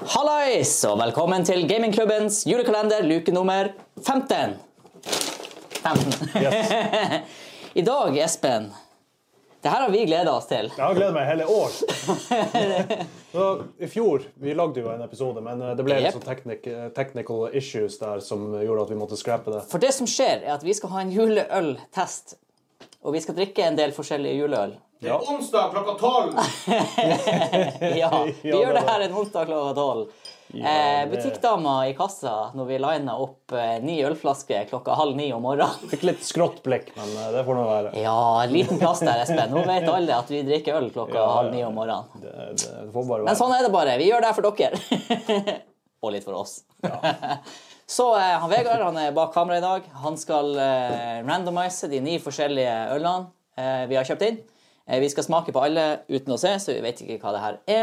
Hallais, og velkommen til gamingklubbens julekalender luke nummer 15. 15. I dag, Espen, det her har vi gleda oss til. Jeg har gledet meg hele år. Så, I fjor vi lagde jo en episode, men eh, det ble Jep. litt sånn teknik- eh, technical issues der som gjorde at vi måtte scrape det. For det som skjer, er at vi skal ha en juleøltest. Og vi skal drikke en del forskjellige juleøl. Det er onsdag klokka tolv. Ja, Vi Ja, gjør det det her en onsdag klokka tolv. Eh, det- butikkdama i kassa når vi lina opp eh, ni ølflasker klokka halv ni om morgenen. Fikk litt skrått blikk, men eh, det får nå være. Ja, en liten plass der, Espen. Nå vet alle at vi drikker øl klokka Ja, ja. halv ni om morgenen. Det, det får bare Men være. sånn er det bare. Vi gjør det her for dere. og litt for oss. Så eh, han Vegard han er bak kamera i dag. Han skal eh, randomise de ni forskjellige ølene eh, vi har kjøpt inn. Eh, vi skal smake på alle uten å se, så vi vet ikke hva det her er.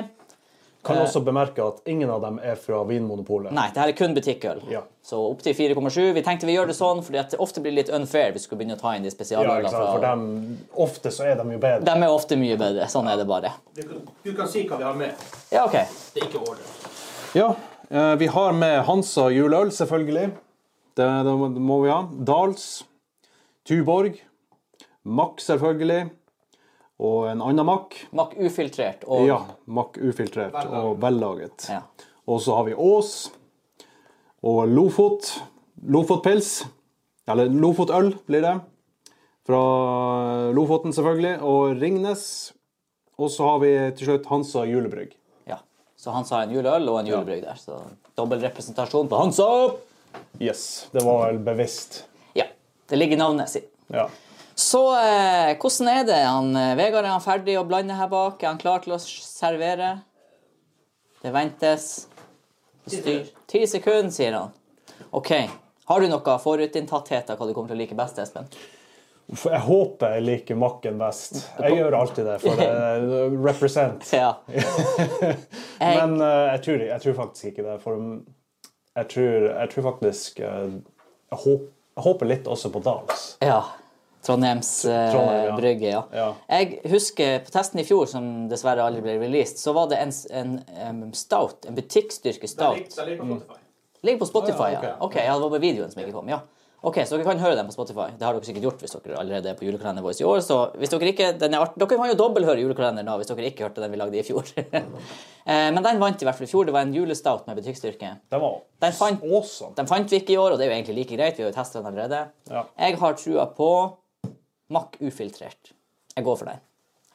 Kan også bemerke at ingen av dem er fra Vinmonopolet. eh, Nei, det her er kun butikkøl. Ja. Så opptil 4,7. Vi tenkte vi gjør det sånn, fordi at det ofte blir litt unfair hvis vi skulle begynne å ta inn de Ja, ikke spesialølene. sant? For fra... dem, ofte så er de jo bedre. De er ofte mye bedre. Sånn er det bare. Du, kan- du kan si hva vi har med. Ja, OK. Det er ikke order. Ja, eh, vi har med Hansa juleøl, selvfølgelig. Det, det må- det må vi ha. Dals. Tuborg. Mack, selvfølgelig. Og en annen Mack. Makk ufiltrert og Ja, Mack ufiltrert og vellaget. Ja. Og så har vi Ås. Og Lofot. Lofotpils. Eller Lofotøl blir det. Fra Lofoten, selvfølgelig. Og Ringnes. Og så har vi til slutt Hansa julebrygg. Ja. Så han sa en juleøl og en julebrygg der. Så dobbel representasjon på Hansa! Yes, det var vel bevisst. Ja. Det ligger i navnet sitt. Ja. Så eh, hvordan er det? Han, eh, Vegard, er han ferdig å blande her bak? Er han klar til å s- servere? Det ventes. Styr. Ti sekunder, sier han. OK. Har du noe forutinntatthet av hva du kommer til å like best, Espen? Uff, Jeg håper jeg liker makken best. Jeg gjør alltid det, for det represent. Ja. Men eh, jeg, tror, jeg tror faktisk ikke det. For jeg tror, jeg tror faktisk eh, jeg, håper, jeg håper litt også på Dals. Ja. Trondheims eh, Trondheim, ja. brygge, ja. Ja. Jeg husker på testen i fjor, som dessverre aldri ble released, så var det en, s- en, em, stout, en butikkstyrke Det ligger- stout. det ligger på Spotify. Ligger på Spotify, Ah, ja, ja. ok. Ok, ja, det var bare videoen som ikke kom, ja. Ok, så dere kan høre den på Spotify. Det har dere sikkert gjort hvis dere allerede er på Julekalender Voice i år, så hvis dere ikke, den er art... Dere kan jo dobbelthøre julekalenderen da, hvis dere ikke hørte den vi lagde i fjor. Eh, Men den vant i hvert fall i fjor. Det var en julestout med butikkstyrke. Den var Den fant- awesome. Den fant vi ikke i år, og det er jo egentlig like greit. Vi har jo testet den allerede. Ja. Jeg har trua på Mack ufiltrert. Jeg går for den.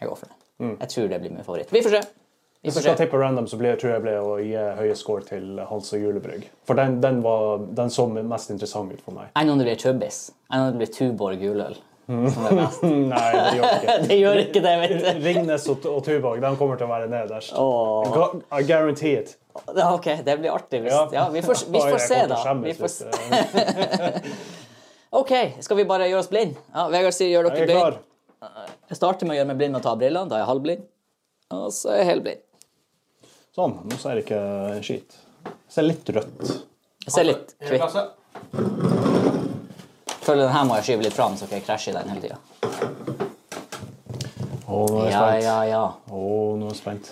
Jeg går for den. Jeg tror det blir min favoritt. Vi får se. Vi Hvis Mm. jeg får skal se. tippe random, så blir, jeg tror jeg ble å gi høye score til Hans og Julebrygg. For den, den, var, den så mest interessant ut for meg. Enn om det blir Tubbis. Enn om det blir Tuborg juløl. Som er best. Nei, det gjør jeg ikke. det gjør ikke det, vet du. Ringnes og, og Tuborg de kommer til å være nederst. I guarantee it. Ja, OK, det blir artig hvis Ja. Ja, vi får, vi Oi, får jeg se, kommer til da. å Vi skjemmes får se. hvis det- OK, skal vi bare gjøre oss blind? Ja, Vegard sier gjør dere Jeg er klar. blind. Jeg starter med å gjøre meg blind med å ta av brillene. Da er jeg halvblind. Og så er jeg helblind. Sånn. Nå ser jeg ikke skit. Jeg ser litt rødt. Jeg ser litt Er det kvitt. klasse? Føler den her må jeg skyve litt fram, så ikke jeg krasjer i den hele tida. Å, nå er jeg Ja, spent. ja, ja. Å, nå er jeg spent.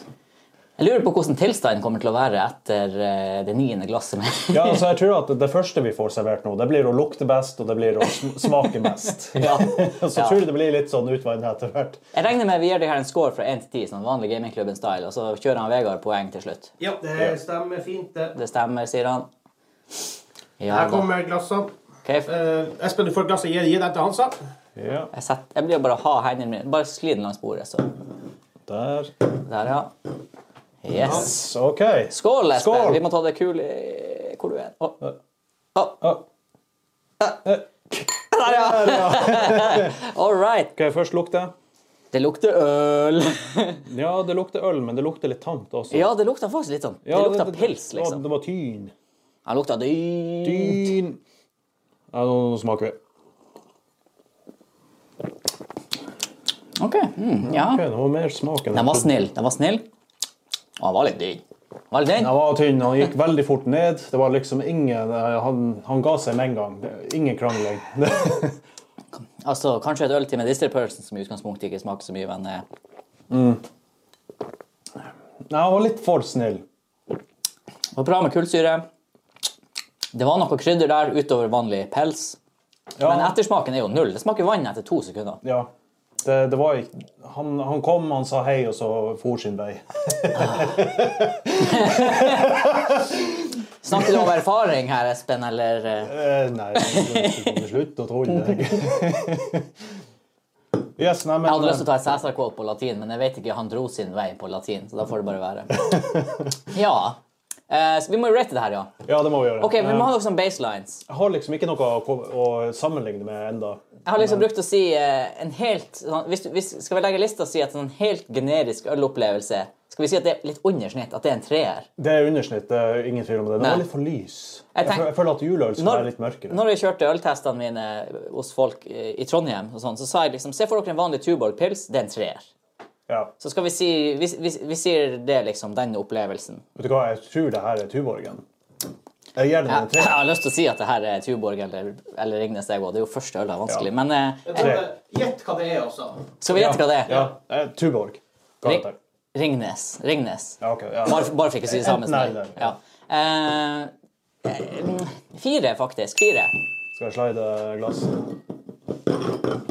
Jeg lurer på hvordan tilstanden kommer til å være etter eh, det niende glasset. med- Ja, altså, jeg tror at det første vi får servert nå, det blir å lukte best, og det blir å sm- smake mest. Ja. Så Ja. tror jeg det blir litt sånn utvannet etter hvert. Jeg regner med vi gir det her en score fra 1 til 10, sånn vanlig gamingklubben-style, og så kjører han Vegard poeng til slutt. Ja, det stemmer fint, det. Det stemmer, sier han. Ja da. Her kommer glassene. Ok, Eh, Espen, du får glasset. Gi, gi den til Hansa. Ja, Jeg, setter, jeg blir bare å ha hendene mine Bare skli den langs bordet, så. der. Der, ja. Yes. Så, OK. Ah. Skål, Espen. Skål. Vi må ta det kule i- hvor du er. Å, Å, der, Ah. ja! All right. Skal jeg først lukte? Det lukter øl. Ja, det lukter øl, men det lukter litt tamt også. Ja, det lukter faktisk litt sånn Det Ja, lukter pils, liksom. Ja, det var tyn. Den lukter dyr. Tyn. Ja, nå nå smaker vi. OK. Mm, ja. Ok, det var mer smak enn Den var jeg trodde. snill. Den var snill. Og den var litt dyr. Var litt dyr. Han var tynn, han gikk veldig fort ned. Det var liksom ingen, Han, han ga seg med en gang. Det- Ingen krangling. Altså, kanskje et øl til medisterpølsen som i utgangspunktet ikke smaker så mye, men eh, Nei, han var litt for snill. Det var bra med kullsyre. Det var noe krydder der utover vanlig pels. Ja. Men ettersmaken er jo null. Det smaker vann etter to sekunder. Ja. Det, det var ikke han, han kom, han sa hei, og så for sin vei. Snakker du om erfaring her, Espen, eller eh, Eh, nei, det- slutt å tulle. Yes, nei, men, eh, Jeg hadde lyst til å ta et Cæsar-quote på latin, men jeg vet ikke. Han dro sin vei på latin, så da får det bare være. Ja. Eh, så vi må jo rate det her, ja. Ja, det må vi gjøre. Ok, Vi må Eh, ha noen sånne baselines. Jeg har liksom ikke noe å, ko- å sammenligne med enda. Jeg har liksom brukt å si eh, en helt sånn, hvis, du- hvis, Skal vi legge lista og si at en sånn helt generisk ølopplevelse Skal vi si at det er litt under snitt? At det er en treer? Det er undersnitt, det er ingen tvil om det. Det Nei. var litt for lys. Jeg Jeg, tenk- føl- jeg føler at juleøl skal Når- være litt mørkere. Når jeg kjørte øltestene mine hos folk eh, i Trondheim, og sånn, så sa jeg liksom Se for dere en vanlig Tuborg pils. Det er en treer. Ja. Så skal vi si Vi, vi, vi sier det, liksom. Den opplevelsen. Vet du hva, jeg tror det her er Tuborgen. Jeg gir den en Jeg tre. har lyst til å si at det her er Tuborg eller, eller Ringnes, jeg òg. Det er jo første ølet vanskelig. Ja. Men eh, Jeg tror det- Gjett hva det er, altså. skal vi gjette hva det er? Ja, eh, Tuborg. Hva Ri- heter det? Ringnes. Ringnes. Ja, ok, ja. Bare, bare for ikke å si det samme som deg. Nei, nei, Ja. ja. Eh, eh, fire, faktisk. Fire. Skal jeg slide glasset?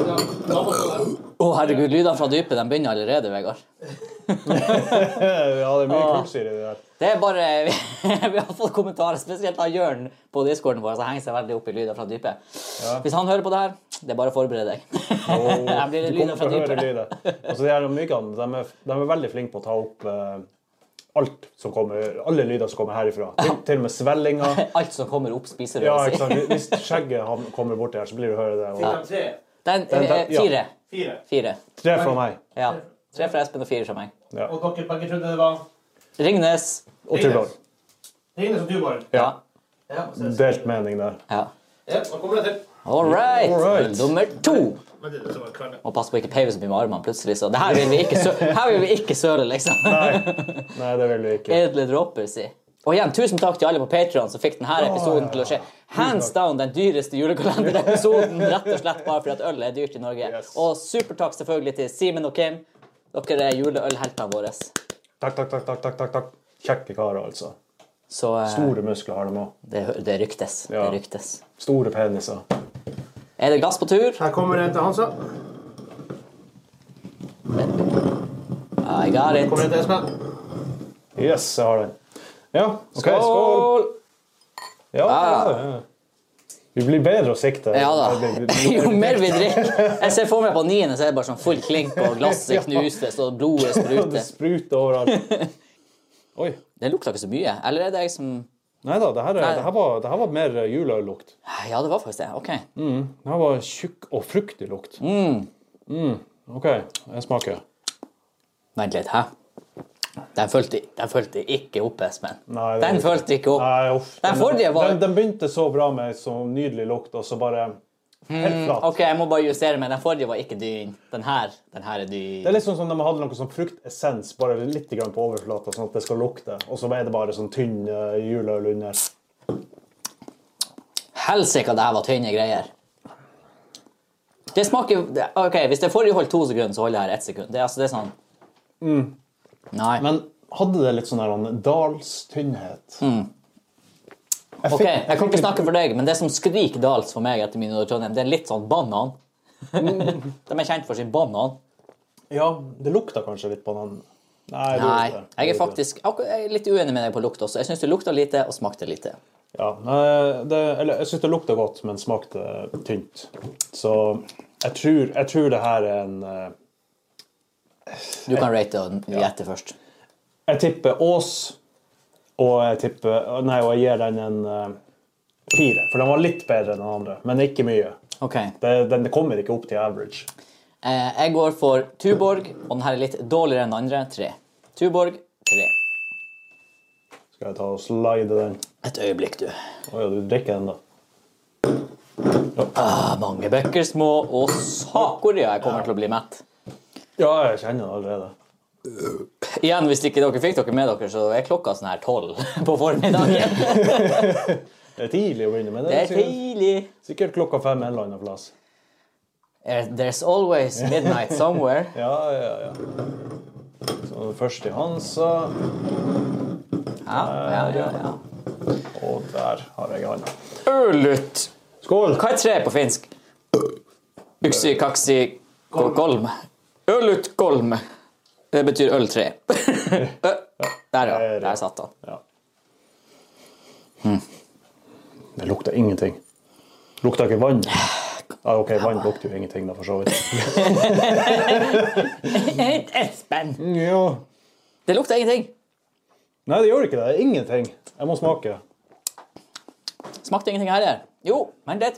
Ja, da må det- Å, herregud, lydene fra dypet de begynner allerede, Vegard. Ja, det er mye kullsyre i det der. Det er bare Vi, har fått kommentarer, spesielt av Jørn på discorden vår, som henger seg veldig opp i lyder fra dypet. Hvis han hører på det her, det er bare å forberede deg. Her blir det Du lyder kommer fra til å høre dypet. lyder. Altså, de her myggene de er, de er veldig flinke på å ta opp eh, alt som kommer, alle lyder som kommer herifra. Til, til og med svellinga. Alt som kommer opp, spiser Ja, du. ikke sant? Hvis skjegget ham- kommer borti her, så blir du høre det. Fikk Og de tre? Den, Den- eh, den- ja. fire. Fire. Fire. tre fra meg. Ja. Tre fra Espen og fire fra meg. Og dere begge trodde det var Ringnes. Og Tuborg. Ringnes og Tuborg? Ja. Ja, ses. Delt mening der. ja. Ja, nå kommer det til. All right. All right. Nummer to. Men det er det som er kvelden. Og pass på ikke peive så mye med armene plutselig. Så det her vil vi ikke, sø her vil vi ikke søle, liksom. Nei, Nei det vil vi ikke. Edle dråper, si. Og igjen, tusen takk til alle på Patreon som fikk denne episoden til å skje. Hands down den dyreste julekalenderepisoden, rett og slett bare fordi at øl er dyrt i Norge. Yes. Og supertakk selvfølgelig til Simen og Kim. Dere er juleølheltene våre. Takk, takk, takk. takk, takk, takk, takk. Kjekke karer, altså. Så eh, Store muskler har de òg. det, det ryktes. Det Ja. ryktes. Store peniser. Er det glass på tur? Her kommer en til Hansa. I got it. Kommer en til Espen. Yes, jeg har den. Ja, OK, skål! Skål! Ah. Ja, ja, ja. Vi blir bedre å sikte. Ja da. Det blir- Jo mer vi drikker Jeg ser for meg på niende, så er det bare sånn full klink, og Ja. glasset knuses, og blodet Det spruter. spruter overalt. Oi. Det lukta ikke så mye. Eller er det jeg som Nei da, det her, er, det her, var, det her var mer juleøllukt. Ja, det var faktisk det. OK. Det her var tjukk og fruktig lukt. Mm. OK, jeg smaker. Vent litt, hæ? Den fulgte, den fulgte ikke opp, Espen. Nei, det- den fulgte ikke opp. Nei, uff. Den forrige var- den, den begynte så bra med så nydelig lukt, og så bare helt flat. Mm, OK, jeg må bare justere meg. Den forrige var ikke dyn. Den her, den her er Det er dyn. litt sånn som de hadde noe sånn fruktessens bare litt grann på overflata, sånn at det skal lukte. Og så er det bare sånn tynn eh, juleøl under. Helsike, det her var tynne greier. Det smaker det- OK, hvis det forrige holdt to sekunder, så holder det her ett sekund. Det, er altså, det er sånn Nei. Mm. Men hadde det litt sånn her en dalstynnhet. Jeg Mm. OK, jeg kan ikke snakke for deg, men det som skriker dals for meg etter min Nord Trondheim, det er litt sånn banan. De er kjent for sin banan. Ja, det lukta kanskje litt banan. Nei, det gjorde Nei, jeg er ikke det. Det gjorde ikke det. faktisk akkur- jeg er litt uenig med deg på lukt også. Jeg syns det lukta lite og smakte lite. Ja, nei, det, eller, jeg syns det lukta godt, men smakte tynt. Så jeg tror, jeg tror det her er en eh, Du kan rate og gjette først. Jeg tipper Ås, og jeg tipper Nei, og jeg gir den en eh, fire. For den var litt bedre enn den andre, men ikke mye. Ok. Eh, Det, den kommer ikke opp til average. Jeg går for Tuborg, og den her er litt dårligere enn den andre. Tre. Tuborg, tre. Skal jeg ta og slide den? Et øyeblikk, du. Å ja, du drikker den, da. Ah, mange bøkker små, og sakori jeg kommer til å bli mett. Ja, jeg kjenner den allerede. Igjen, hvis ikke dere fikk dere med dere, så er klokka sånn her tolv på formiddagen. Det er tidlig å begynne med. Det Det er er sikkert, tidlig. sikkert klokka fem en eller annen plass. Eh, There's always midnight somewhere. Ja, ja, ja. Så den første i Hansa Ja, ja, ja, ja. Og der har jeg handa. Ørlut. Skål! Hva er tre på finsk? Yksi, kaksi, ko- kolm. Ørlut kolm. Det betyr øltre. Ø- Der, ja. Der satt han. Ja. Hm. Det lukter ingenting. Lukter ikke vann. Ja, OK, vann lukter jo ingenting, da, for så vidt. Espen! Mm, Ja. Det lukter ingenting. Nei, det gjør ikke det. Det er ingenting. Jeg må smake. Smakte ingenting heller. Jo, men det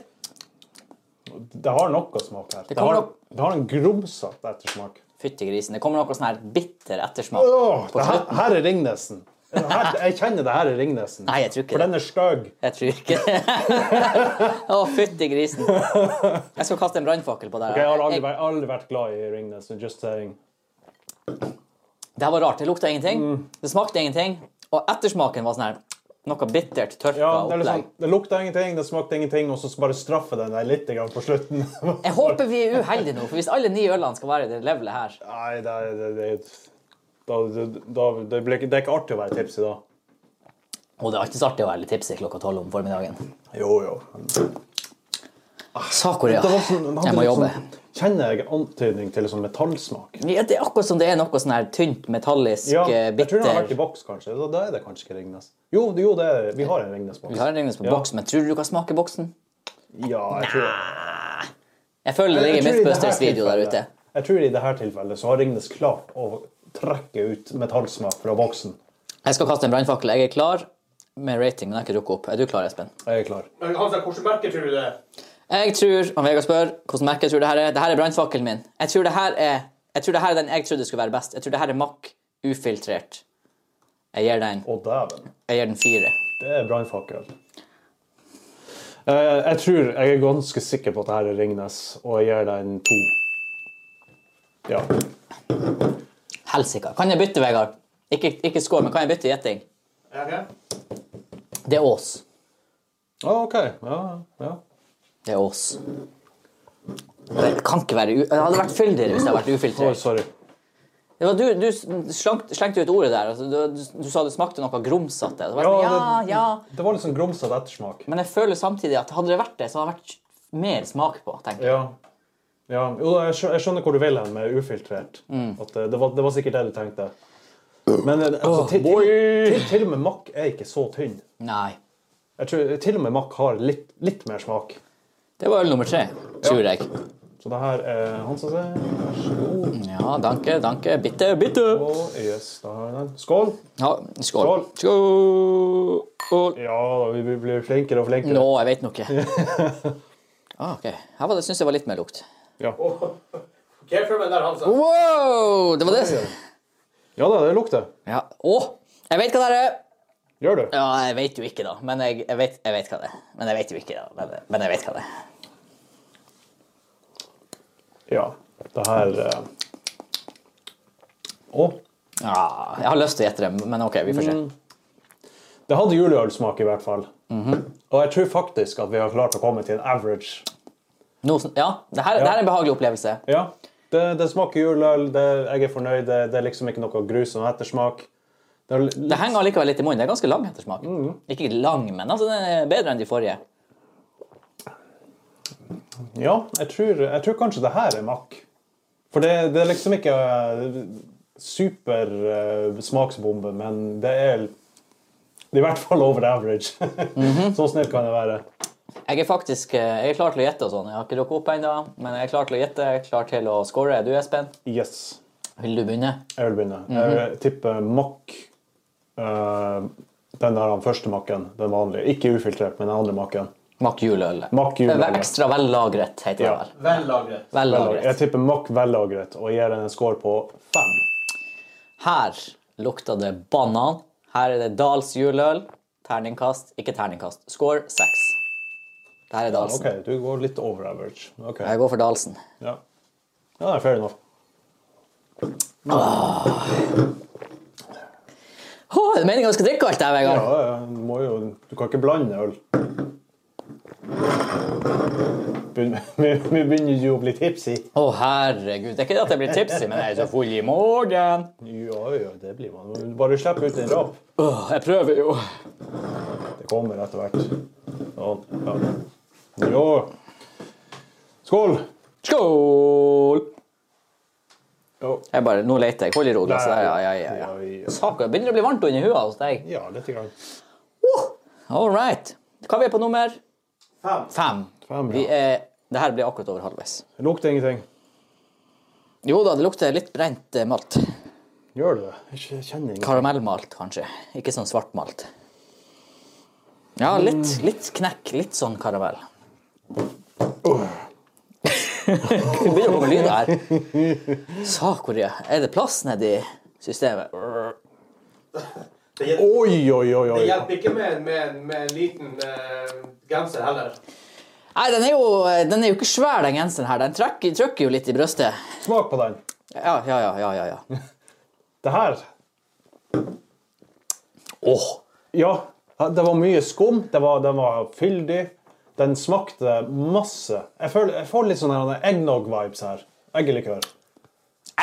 Det har noe smak her. Det, kommer har, nok- det har en grumsete ettersmak. Fytti grisen. Det kommer noe sånn her bitter ettersmak. Åh, det her, her er Ringnesen. Her, jeg kjenner det her er Ringnesen. Nei, jeg tror ikke For det. den er stygg. Jeg tror ikke det. Å, fytti grisen. Jeg skal kaste en brannfakkel på deg. Jeg har aldri, vært- aldri vært glad i Ringnes. so Just saying. Det her var rart. Det lukta ingenting. Mm. Det smakte ingenting. Og ettersmaken var sånn her noe bittert, tørka Ja, det, er litt opplegg. sånn, det lukta ingenting, det smakte ingenting, og så bare straffe den der litt grann på slutten. Jeg håper vi er uheldige nå, for hvis alle ni ølene skal være i det levelet her Nei, det, er- det, det, da, da, det, blir ikke, det er ikke artig å være tipsy da. Og det er alltid så artig å være litt tipsy klokka tolv om formiddagen. Jo, jo. Sa-Korea. Det var sånn, den hadde Jeg må litt jobbe. Sånn, kjenner jeg antydning til sånn metallsmak? Ja, det er akkurat som det er noe sånn her tynt, metallisk, Ja, eh, jeg tror den har bitter vært i boks, kanskje. Da, da er det kanskje ikke Ringnes. Jo, det- jo det er, vi har en Ringnes-boks. Vi har en Ringnes på Ja. boks, men tror du du kan smake boksen? Ja, jeg tror Jeg føler det Jeg ligger tror i det her Mythbusters video der ute. tilfellet- Jeg tror i det her tilfellet så har Ringnes klart å trekke ut metallsmak fra boksen. Jeg skal kaste en brannfakkel. Jeg er klar med rating, men jeg har ikke drukket opp. Er du klar, Espen? Jeg er klar. Men Eh, Hansa, hvilket merke tror du det er? Jeg tror han Vegard spør hvordan merke jeg tror det her er. Det her er brannfakkelen min. Jeg tror det her er jeg tror det her er den jeg trodde skulle være best. Jeg tror det her er Mack ufiltrert. Jeg gir den Å, dæven. jeg gir den fire. Det er brannfakkel. Eh, jeg tror jeg er ganske sikker på at det her er Ringnes, og jeg gir den to. Ja. Helsike. Kan jeg bytte, Vegard? Ikke, ikke skål, men kan jeg bytte gjetting? Ja, ok. Det er Ås. Ah, OK. Ja, ja. Det er Ås. Det kan ikke være u... Det hadde vært fyldigere hvis det hadde vært Oi, ufiltrert. sorry. Det var du, du slank, slengte ut ordet der. Altså, du, du, du sa det smakte noe grumsete. Det var Ja, sånn, ja, det- ja. Det var litt sånn grumsete ettersmak. Men jeg føler samtidig at hadde det vært det, så hadde det vært mer smak på. tenker jeg. Ja. ja. Jo, da, jeg skjø- jeg skjønner hvor du vil hen med ufiltrert. At eh, det, var, det var sikkert det du tenkte. Men eh, altså, til, til, til, til og med makk er ikke så tynn. Nei. Jeg tror Til og med makk har litt, litt mer smak. Det var øl nummer tre, tror jeg. Så det her er han som sier Vær så god. Ja, danke, danke. Bitte, bitte. Og yes, da har jeg den. Skål. Ja, skål. Skål. Ja, da, vi blir- blir flinkere og flinkere. Nå, jeg vet noe. Ah, ok. Her var det, syns jeg var litt mer lukt. Careful med den der, Hansa. Wow! Det var det. Ja da, det lukter. Ja. Å! Jeg vet hva det er. Gjør du? Ja, jeg vet jo ikke, da. Men jeg, jeg, vet, jeg vet hva det er. Men jeg vet jo ikke, da. Men, men jeg vet hva det er. Ja. Det her eh, Å. Ja, Ah, jeg har lyst til å gjette det, men OK, vi får se. Det hadde juleølsmak i hvert fall. Mhm. Og jeg tror faktisk at vi har klart å komme til en average. Nå sn- ja, det her, det her er en behagelig opplevelse. Ja. Det, det smaker juleøl, det, jeg er fornøyd, det, det er liksom ikke noe grusom ettersmak. Det er Det litt, henger allikevel litt i munnen. Det er ganske lang ettersmak. Ikke lang, men altså, den er bedre enn de forrige. ja, jeg tror, jeg tror kanskje det her er makk. For det, det er liksom ikke supersmaksbombe, men det er i hvert fall over average. Så snill kan jeg være. Jeg er faktisk eh, jeg er klar til å gjette og sånn. Jeg har ikke drukket opp ennå, men jeg er klar til å gjette. Jeg er klar til å score. Er du, Espen? Yes. Vil du begynne? Jeg vil begynne. Jeg tipper makk. eh, den der den første makken, den vanlige. Ikke ufiltrert, men den andre makken. Makk juleøl. Makk juleøl, Det er ja. Ekstra vellagret, heter det Ja. vel. Vel lagret. Jeg Vellagret. tipper makk vellagret og gir den en score på fem. Her lukter det banan. Her er det Dals juleøl. Terningkast, ikke terningkast. Score seks. Det her er Dalsen. OK, du går litt over average. Ok, Jeg går for Dalsen. Ja, ja det er fair enough. Å, er det meningen at du skal drikke alt det her, Vegard? Ja, ja, du, må jo, du kan ikke blande øl. begynner, vi, vi begynner jo å bli tipsy. Å, herregud. Det er ikke det at jeg blir tipsy, men jeg er så full i magen. Jo, jo, det blir man. Men Bare slipp ut en rap. Åh, jeg prøver jo. Det kommer etter hvert. Sånn. Ja. Jo. Skål! Skål! Jo. Jeg bare, nå leter jeg. Hold i ro. glasset der. Ja, ja, ja, Ja, ja. ja. Saker, det begynner å bli varmt under hua hos deg. Ja, litt. Grann. All right. Hva er vi på nummer? Fem. Fem. Fem, ja. Vi er, det her blir akkurat over halvveis. Det lukter ingenting. Jo da, det lukter litt brent eh, malt. Gjør det det? Jeg kjenner ingenting. Karamellmalt, kanskje. Ikke sånn svartmalt. Ja, Mm. litt, litt knekk. Litt sånn karamell. Oh. Det begynner å komme lyder her. Sakoria. Er det plass nedi systemet? Det, hjel- Oi, oi, oi, det oi. hjelper ikke med, med, med en liten eh, genser heller. Nei, den er jo, den er jo ikke svær, den genseren her. Den trekker, trykker jo litt i brystet. Smak på den. Ja, ja, ja, ja, ja. ja. Det her Åh! Ja. Det var mye skum. Det var, den var fyldig. Den smakte masse. Jeg, føler, jeg får litt sånn her eggnog-vibes her. Eggelikør.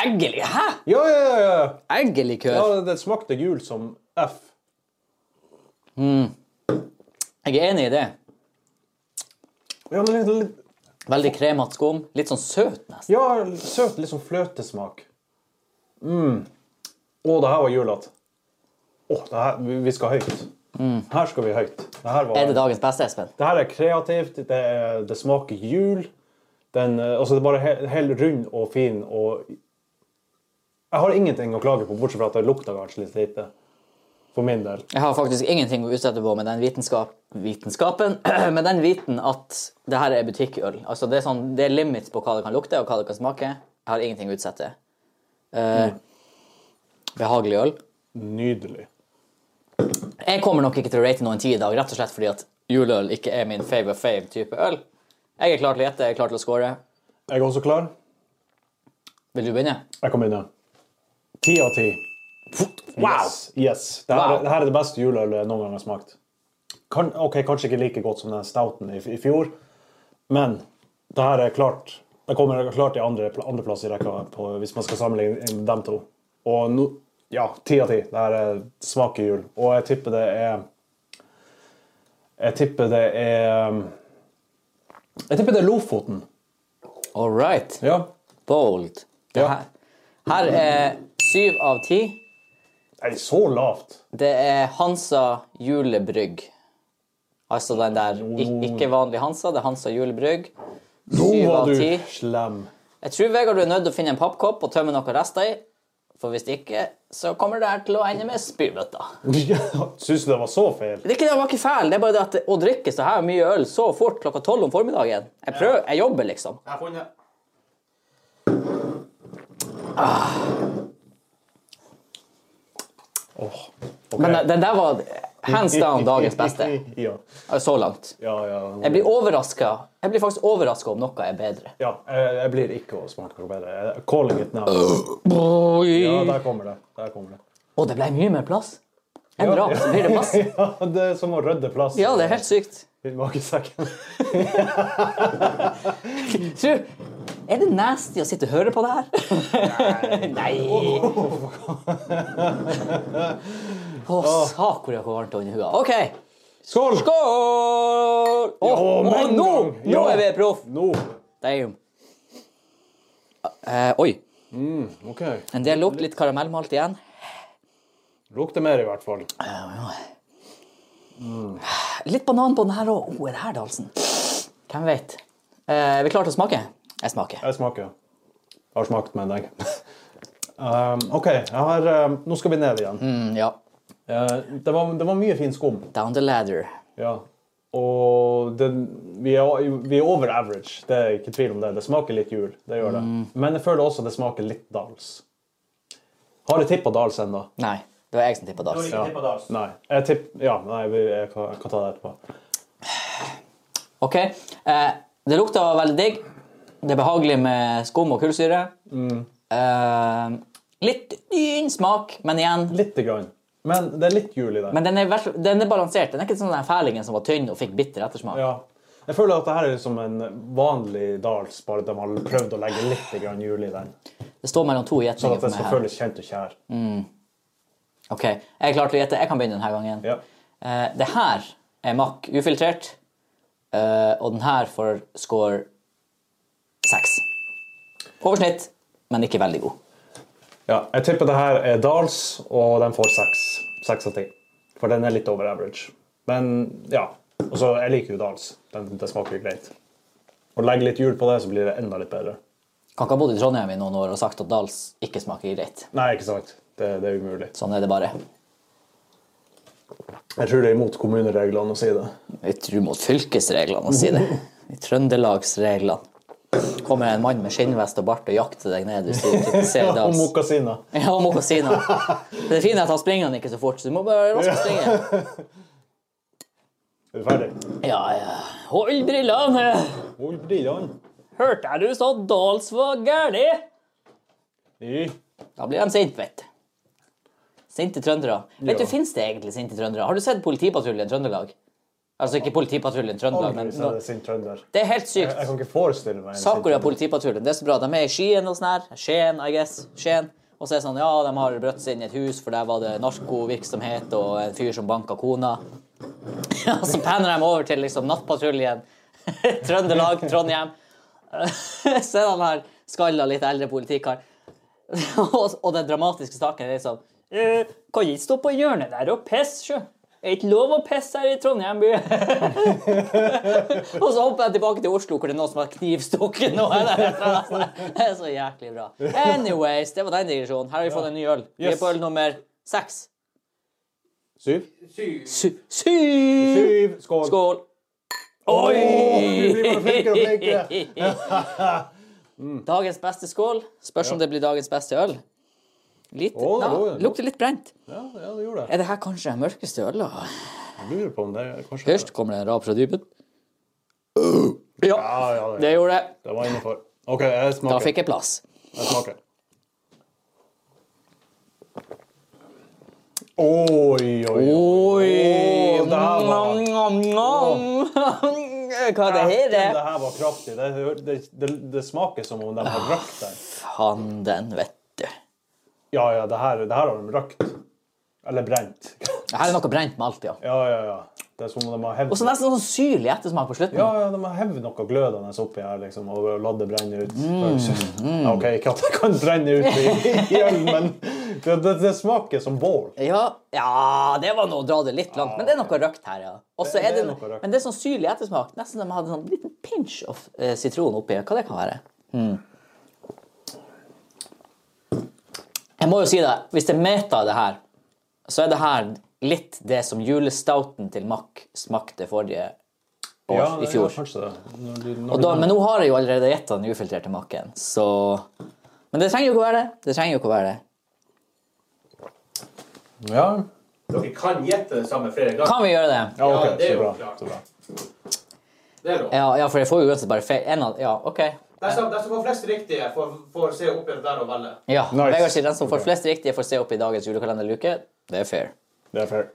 Eggelig, hæ? Ja, ja, ja, ja. Eggelikør. ja! Det smakte gult som F. Jeg er enig i det. Ja, men litt, litt, Veldig kremete skum. Litt sånn søt, nesten. ja søt, litt sånn fløtesmak. Mm. Å, det her var julete. Å, det her- vi- vi skal høyt. Her skal vi høyt. Det her var Mm. Er det dagens beste, Espen? Det her er kreativt, det, er, det smaker jul. Den, eh, altså det er bare he- helt rund og fin og Jeg har ingenting å klage på, bortsett fra at det lukta kanskje litt lite. For min del. Jeg har faktisk ingenting å utsette på med den vitenskap, vitenskapen, med den viten at det her er butikkøl. Altså det, er sånn, det er limits på hva det kan lukte og hva det kan smake. Jeg har ingenting å utsette. Eh, Behagelig øl. Nydelig. Jeg kommer nok ikke til å rate noen ti i dag, rett og slett fordi at juleøl ikke er min fave of fave type øl. Jeg er klar til å gjette, jeg er klar til å score. Jeg er også klar. Vil du begynne? Jeg kan begynne. Ti av ti. Yes. yes. Det, her, Wow. det her er det beste juleølet jeg noen gang har smakt. Kan, ok, Kanskje ikke like godt som den stouten i, i fjor, men det her er klart Det kommer klart i andre, andreplass i rekka på, hvis man skal sammenligne dem to. Og nå Ja, ti av ti. Det her er smaker jul. Og jeg tipper det er Jeg tipper det er Jeg tipper det er Lofoten. All right. Ja. Bold. Det Ja. her, her er syv av ti. Nei, så lavt. Det er Hansa julebrygg. Altså den der ik ikke vanlig Hansa, det er Hansa julebrygg. Nå Syv var av du ti. slem. Jeg tror Vegard du er nødt til å finne en pappkopp og tømme noen rester i. For hvis ikke, så kommer det her til å ende med spybøtta. Syns du det var så feil? Det er ikke det, det var ikke feil, det er bare det at å drikke så her mye øl så fort klokka tolv om formiddagen Jeg prøver, jeg jobber, liksom. Jeg har funnet. Åh, Men eh, den der var hands down dagens beste ja. eh, så langt. Ja, ja. Jeg blir overraska. Jeg blir faktisk overraska om noe er bedre. ja, jeg, jeg blir ikke å smake noe bedre. Jeg- Calling it now. Ja, Oi. der kommer det. Der kommer det. Og det ble mye mer plass. En rap, så blir det plass. Ja, det er som å rydde plass Ja, det er helt sykt. i magesekken. Tror, er det nasty å sitte og høre på det her? Nei! Å, sakoria, hvor varmt det er under hua. OK, Skål! skål! Å, Ja, å, med en nå, gang. nå Ja. er vi proff! Nå. Damn. Eh, oi. OK. En del lukt, litt karamellmalt igjen. Lukter mer, i hvert fall. Litt banan på den her òg. Å, er det her Dalsen? Hvem vet? Eh, er vi klare til å smake? Jeg smaker. Jeg smaker. Jeg har smakt, mener jeg. Um, OK, jeg har, um, nå skal vi ned igjen. Mm, ja. Eh, det, var, det var mye fin skum. Down the ladder. Ja. Og det, vi, er, vi er over average, det er ikke tvil om det. Det smaker litt jul, det gjør det. Mm. Men jeg føler også det smaker litt Dals. Har jeg tippa Dals ennå? Nei, det var jeg som tippa Dals. Ja. Det Nei. Jeg tipp, ja, nei, vi- jeg kan, jeg kan ta det etterpå. Ok, eh, det lukta veldig digg. Det er behagelig med skum og kullsyre. Eh, litt dyn smak, men igjen Lite grann. Men det er litt jul i det. Men den er, vers- den er balansert. Den er ikke sånn den fælingen som var tynn og fikk bitter ettersmak. Ja. Jeg føler at det her er som en vanlig dals, bare de har prøvd å legge litt grann jul i den. Det står mellom to Sånn gjetninger at det for meg skal her. Mm. føles kjent og kjær. Ok, Jeg er klar til å gjette. Jeg kan begynne denne gangen. Ja. Eh, det her er Mack ufiltrert, eh, og den her får score seks. Oversnitt, men ikke veldig god. ja. Jeg tipper det her er dals, og den får seks. Seks av ti. For den er litt over average. Men ja. Og så jeg liker jo dals. Den, den smaker jo greit. Og legge litt jul på det, så blir det enda litt bedre. Kan ikke ha bodd i Trondheim i noen år og sagt at Dals ikke smaker greit. Nei, ikke sant. Det, det er umulig. Sånn er det bare. Jeg tror det er imot kommunereglene å si det. Vi tror mot fylkesreglene, å si det. I Trøndelagsreglene. Kommer en mann med skinnvest og bart og jakter deg ned hvis du kritiserer Og Dals. mokasiner. Ja, og mokasiner. Det fine er at han springer han ikke så fort, så du må bare raskt springe. Er du ferdig? Ja, ja. Hold brillene! Hvor blir han? Hørte jeg du sa Dals var gæli? I. Da blir de sinte, vet du. Sinte trøndere. Vet du, Fins det egentlig sinte trøndere? Har du sett Politipatruljen Trøndelag? Altså ikke Politipatruljen Trøndelag, men Aldri sa det sin trønder. Det er helt sykt. Jeg kan ikke forestille meg en sin Sakuria trønder. politipatruljen, det er så bra. De er i Skien og sånn her. Skien, I guess. Skien. Og så er det sånn, ja, de har brøtt seg inn i et hus, for der var det narkovirksomhet og en fyr som banka kona. Og så panner de over til liksom nattpatruljen. Trøndelag, Trondheim. så er han her skalla, litt eldre politikar. og og den dramatiske saken er liksom eh, Kan ikke stå på hjørnet der og pisse, sjø. Er ikke lov å pisse her i Trondheim by. og så hopper jeg tilbake til Oslo, hvor det er noen som har knivstukket noen. derfra. Det er så jæklig bra. Anyways, det var den digresjonen. Her har vi fått en ny øl. Vi er Yes. på øl nummer seks. Syv. Syv. Sy- Syv! Syv. Skål. Skål. Vi blir bare flinkere og flinkere. Dagens beste skål. Spørs om det blir dagens beste øl. Litt, Å, det ja, var det. lukter litt brent. Ja, ja, det gjorde det. Er det her kanskje den mørkeste øla? Jeg lurer på om det er kanskje Først kommer det en rap fra dypet. Ja, Ja, ja, det, det gjorde det. det var innenfor. OK, jeg Da smaker. fikk jeg plass. Jeg smaker. Oi, oi, oi. Oi! Å, der var den. Nom, nom, nom. Hva er det her? Dæken, er? Det her var kraftig. Det, det, det, det smaker som om de har Ah. røkt den. Fanden, vet du. Ja, ja, det her, det her har de røkt. Eller brent. Her er noe brent med alt, ja. Ja, ja, ja. Det er som om de har hevd Og så nesten sånn syrlig ettersmak på slutten. ja, ja, de har hevd noe glødende oppi her liksom, og latt det brenne ut. Mm, Ja, OK, ikke at det kan brenne ut i, i øl, men det, det, det smaker som bål. Ja, ja, det var noe å dra det litt langt, men det er noe røkt her, ja. Og så Det- er det, det er noe røkt. men det er sånn syrlig ettersmak. Nesten de hadde en sånn liten pinch av eh, sitron oppi. Hva det kan være? Hmm. Jeg må jo si det, hvis det er meta i det her, så er det her litt det som julestauten til Mack smakte forrige år, Ja, i fjor. Ja, kanskje det. Når du, når Og da, men nå har jeg jo allerede gjetta den ufiltrerte makken, så Men det trenger jo ikke å være det. Det trenger jo ikke å være det. du, ja. Dere kan gjette det samme flere ganger. Kan vi gjøre det? ja, ok, Ja, det er så jo bra. klart. Så bra. Det er lov. Ja, ja, for jeg får jo uansett bare feil. En av, ja, ok. De som, de som får flest riktige, får, får se opp igjen der og velge. Ja, Nice. Vegard sier den som får flest riktige får se opp i dagens julekalenderluke. Det er fair. Det er fair.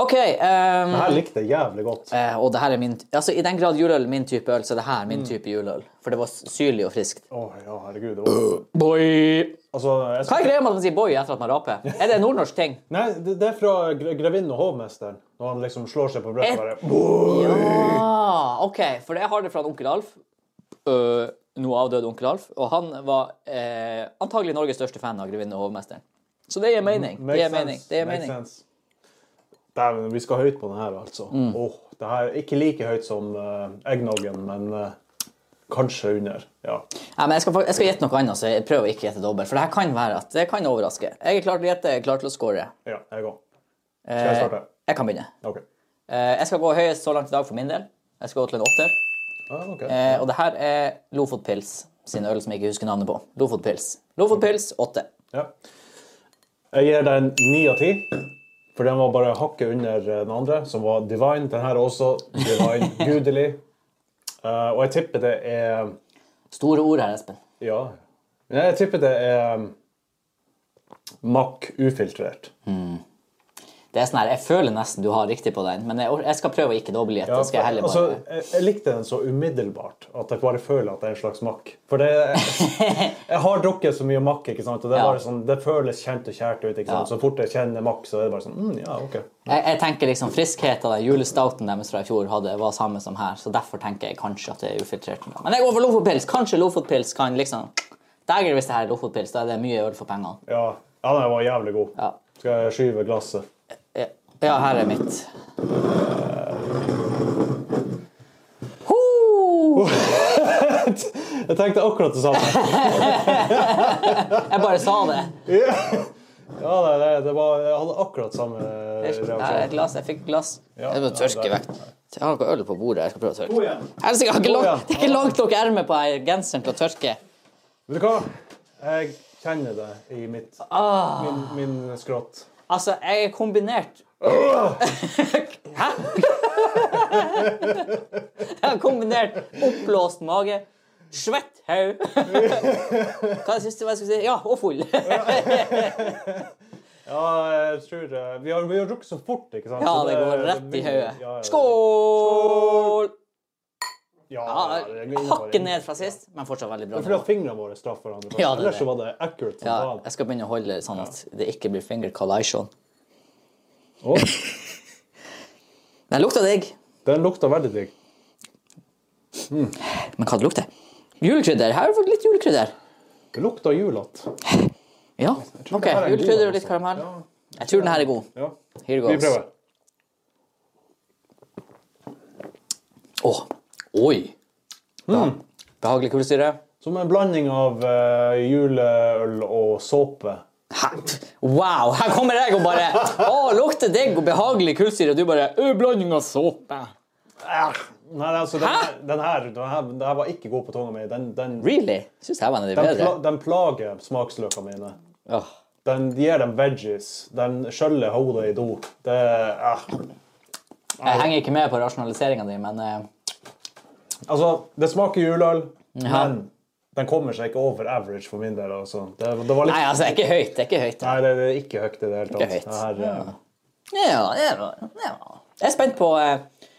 Ok, ehm, Det her likte jeg jævlig godt. eh, og det her er min, altså i den grad juleøl er min type øl, så er det her min type juleøl. For det var syrlig og friskt. Å ja, herregud. Det var... Boy! Altså, Hva jeg skal... er greia med at man sier boy etter at man raper? Er det en nordnorsk ting? Nei, det, det er fra Gre- Grevinnen og hovmesteren. Når han liksom slår seg på brystet og bare Ah, ok, for jeg har det fra en onkel Alf. Øh, nå avdøde onkel Alf. Og han var eh, antagelig Norges største fan av Grevinne og hovmesteren. Så det gir mening. Det gir mening. Det gir Mhm. Makes mening. sense. Dæven, vi skal høyt på den her, altså. Mm. Åh, det her er Ikke like høyt som eh, eggnoggen, men eh, kanskje under. Ja. Nei, men jeg skal, fak- jeg skal gjette noe annet, så jeg prøver å ikke gjette dobbelt. For det her kan være at det kan overraske. Jeg er klar til å gjette, jeg er klar til å score. ja jeg går. Skal Eh, jeg starte? Jeg kan begynne. OK. Eh, Jeg skal gå høyest så langt i dag for min del. Jeg skal gå til en åtter. Ah, ok. Eh, Og det her er Lofotpils sin øl som jeg ikke husker navnet på. Lofotpils. Lofotpils åtte. Ja. Jeg gir den ni av ti. For den var bare hakket under eh, den andre, som var divine. Den her er også divine, gudelig. Eh, og jeg tipper det er Store ord her, Espen. Ja. Nei, Jeg tipper det er um, Mack ufiltrert. Det er sånn her, Jeg føler nesten du har riktig på den, men jeg, or- jeg skal prøve å ikke dobbeltgjette. Ja, Ja, skal jeg heller altså, bare... jeg, jeg likte den så umiddelbart at jeg bare føler at det er en slags makk. For det, jeg har drukket så mye makk, ikke sant? og det, er Ja. bare sånn, det føles kjent og kjært ut. ikke sant? Så fort jeg kjenner makk, så er det bare sånn mm, Ja, OK. jeg, jeg tenker liksom friskhet av den julestauten deres fra i fjor hadde, var samme som her, så derfor tenker jeg kanskje at det er ufiltrert. Men jeg går for Lofotpils. Kanskje Lofotpils kan liksom Dæger, hvis det her er Lofotpils, da er det mye øl for pengene. Ja, ja den var jævlig god. Ja. Skal jeg skyve glasset? Ja, ja, her er mitt. Ho! Jeg tenkte akkurat det samme. Jeg bare sa det. Ja, det, det, det var, Jeg hadde akkurat samme Her er et reaksjon. glass. Jeg fikk et glass. Ja. Jeg må tørke vekk. Jeg har noe øl på bordet. Jeg skal prøve å tørke. igjen. Helsike, jeg har ikke Å, ja. langt, det er ikke langt nok erme på her genseren til å tørke. Vet du hva? Jeg kjenner det i mitt, Ah. min, min skrått. Altså, jeg er kombinert Hæ? jeg har kombinert oppblåst mage, svett haug Hva er det siste hva jeg skulle si? Ja, og full. Ja, jeg tror det. Vi har, vi har drukket så fort, ikke sant? Ja, Så det går det rett i blir- ja, ja, hodet. det- Skål! Ja, Ja, ja, det går Hakket innenfor. ned fra sist, men fortsatt veldig bra. Det er fordi at fingrene våre traff hverandre. først. Ja, det er Ellers det. så var det accurate som Ja, faen. jeg skal begynne å holde sånn at det ikke blir finger collation. Å, Den lukta digg, den lukta veldig digg. men hva det lukter? Julekrydder. Her har vi fått litt julekrydder. Det lukta julete. Ja, tror ok. det her er en god Julekrydder en, og litt altså. karamell. Ja. Jeg tror den her er god. Ja. Here Vi goes. prøver. Åh, Oi! Da. Behagelig kullsyre. Som en blanding av eh, juleøl og såpe. Hæ? Wow! Her kommer jeg og bare Å, lukter digg og behagelig kullsyre, og du bare «Ø, Blanding av såpe. Nei, altså, Ah. Hæ? den, den, her, den, her, den her var ikke god på tunga mi. Den, den, den, Really? Syns jeg var en av de bedre. pla, den plager smaksløkene mine. Åh. Den gir dem veggies. Den skjøller hodet i do. Det eh. Jeg henger ikke med på rasjonaliseringa di, men eh, Altså, det smaker juleøl, men den kommer seg ikke over average for min del. Altså. Det, det var litt Nei, altså, det er ikke høyt. Det er ikke høyt. Nei, det det er ikke høyt i det hele tatt. Ikke høyt. Det her, eh, Ja, ja, ja. Jeg er spent på eh,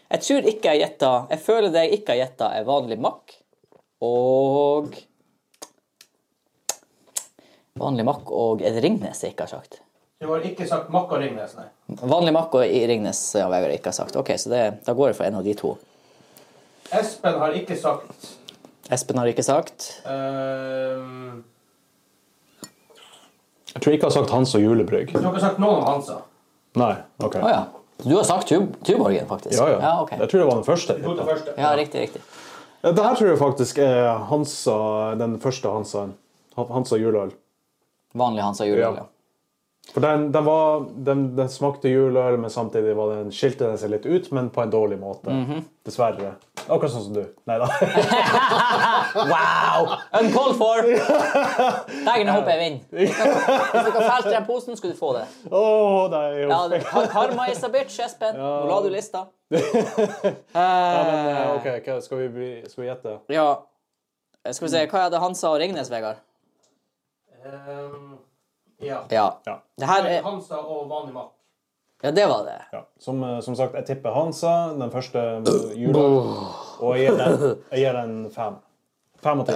Jeg tror ikke jeg gjetta Jeg føler det jeg ikke har gjetta, er vanlig makk og Vanlig makk og et Ringnes jeg ikke har sagt. Du har ikke sagt makk og Ringnes, nei. Vanlig makk og i Ringnes ja, Vegard ikke har sagt. Ok, så det, Da går jeg for en av de to. Espen har ikke sagt Espen har ikke sagt. ehm, Jeg tror ikke jeg har sagt Hans og julebrygg. Du har ikke sagt noe om Hansa. Nei, ok. Å ja. Du har sagt Tub Tuborgen, faktisk. Ja, ja. ja ok. Jeg tror det var den første. Du tok det første. Ja, riktig, riktig. Det her tror jeg faktisk er Hansa, den første Hansaen. Han- Hansa juleøl. Vanlig Hans og juleøl, ja. Ja. For den, den, var, den, den smakte juleøl, men samtidig var den, skilte den seg litt ut, men på en dårlig måte. Mhm. Dessverre. Akkurat sånn som du. Nei da. Wow! Uncalled for! Dægen, jeg håper jeg vinner. Hvis dere felte den posen, skulle du få det. Å, det er jo Ja, feil. ka- Karma is a bitch, Espen. Nå la du lista. Eh, OK, hva- skal vi, bli- skal vi gjette? Ja. Skal vi se, Hva hadde Hansa og Ringnes, Vegard? Ehm, ja. Ja. Ja. Det her er, Hansa og vanlig makk. ja, det var det. Ja. Som, eh, som sagt, jeg tipper Hansa, den første juleøl. Og jeg gir den, jeg gir den fem. Fem og ti.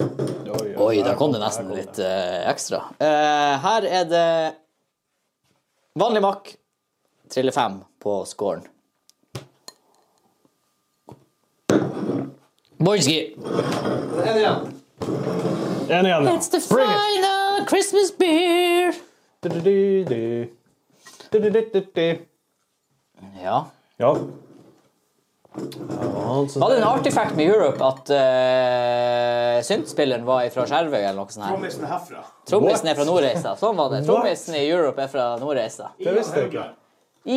Oi, Oi, her der kom det her nesten kom litt eh, ekstra. Eh, her er det vanlig makk, triller fem på scoren. Boyski. Men En igjen. En igjen. It's the final Christmas beer. Du-du-du-du. Du-du-du-du-du. Ja. Ja. Ja, altså. Var det en artifact med Europe at uh, syntspilleren var fra Skjervøy eller noe sånt? her? Trommisen herfra. Trommisen er fra Nordreisa. Sånn var det. Trommisen i Europe er fra Nordreisa. Det visste jeg ikke.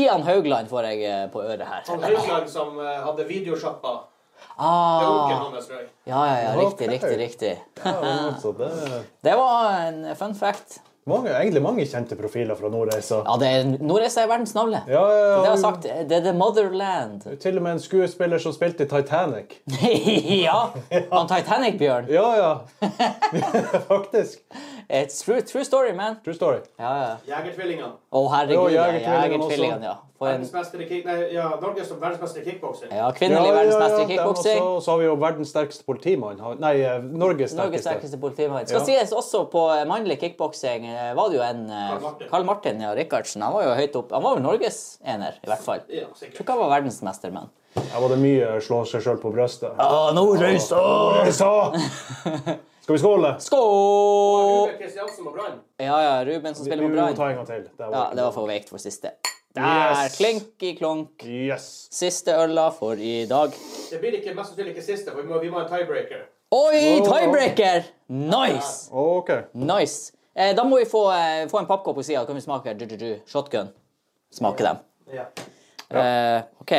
Ian Haugland får jeg eh, på øret her. Han Kristian som eh, hadde videosjappa. Det er Ah, onkelen hans, tror jeg. ja, ja, ja. Riktig, Ok. riktig, riktig. Ja, altså, det er Det var en fun fact. mange, egentlig mange kjente profiler fra Nordreisa. Ja, det er Nordreisa er verdens navle. Ja, Det ja, har jeg ja. sagt. Det er the motherland. Til og med en skuespiller som spilte i Titanic. ja! Han Titanic-bjørn. Ja, ja. Faktisk. It's true, true story, man. True story. Ja, ja. Jegertvillingene. Å, herregud. Jo, ja, Jegertvillingene også. Jegertvillingene, ja. For en, Verdensmestere i kick... Nei, ja, Norges verdensmester i kickbokser. ja, kvinnelig verdensmester i dem kickboksing. også. Og så har vi jo verdens sterkeste politimann. Han- Nei, eh, Norges Norges sterkeste. sterkeste politimann. Skal Ja. sies også på eh, mannlig kickboksing eh, var det jo en eh, Karl Martin. Karl Martin ja, Rikardsen. Han var jo høyt opp. Han var vel Norges ener, i hvert fall. Ja, Jeg tror sikkert. ikke han var verdensmester, men Her var det mye slå seg sjøl på brystet. Å, Nordreis! Åh, jeg sa! Skal vi skåle? Skål! Rune Kristiansen og Brann. Ja, ja, Ruben som Vi spiller vi på må Brann. ta en gang til. Det Ja, det var for veikt for siste. Der! Yes. Klink i klonk. Yes. Siste øla for i dag. Det blir ikke, mest sannsynlig ikke siste, for vi må, vi må ha en tiebreaker. Oi, Wow. tiebreaker! Nice! OK. Nice. Eh, da må vi få, eh, få en pappkopp på sida. Kan vi smake jujuju? Shotgun. Smake dem. Ja. Eh, OK.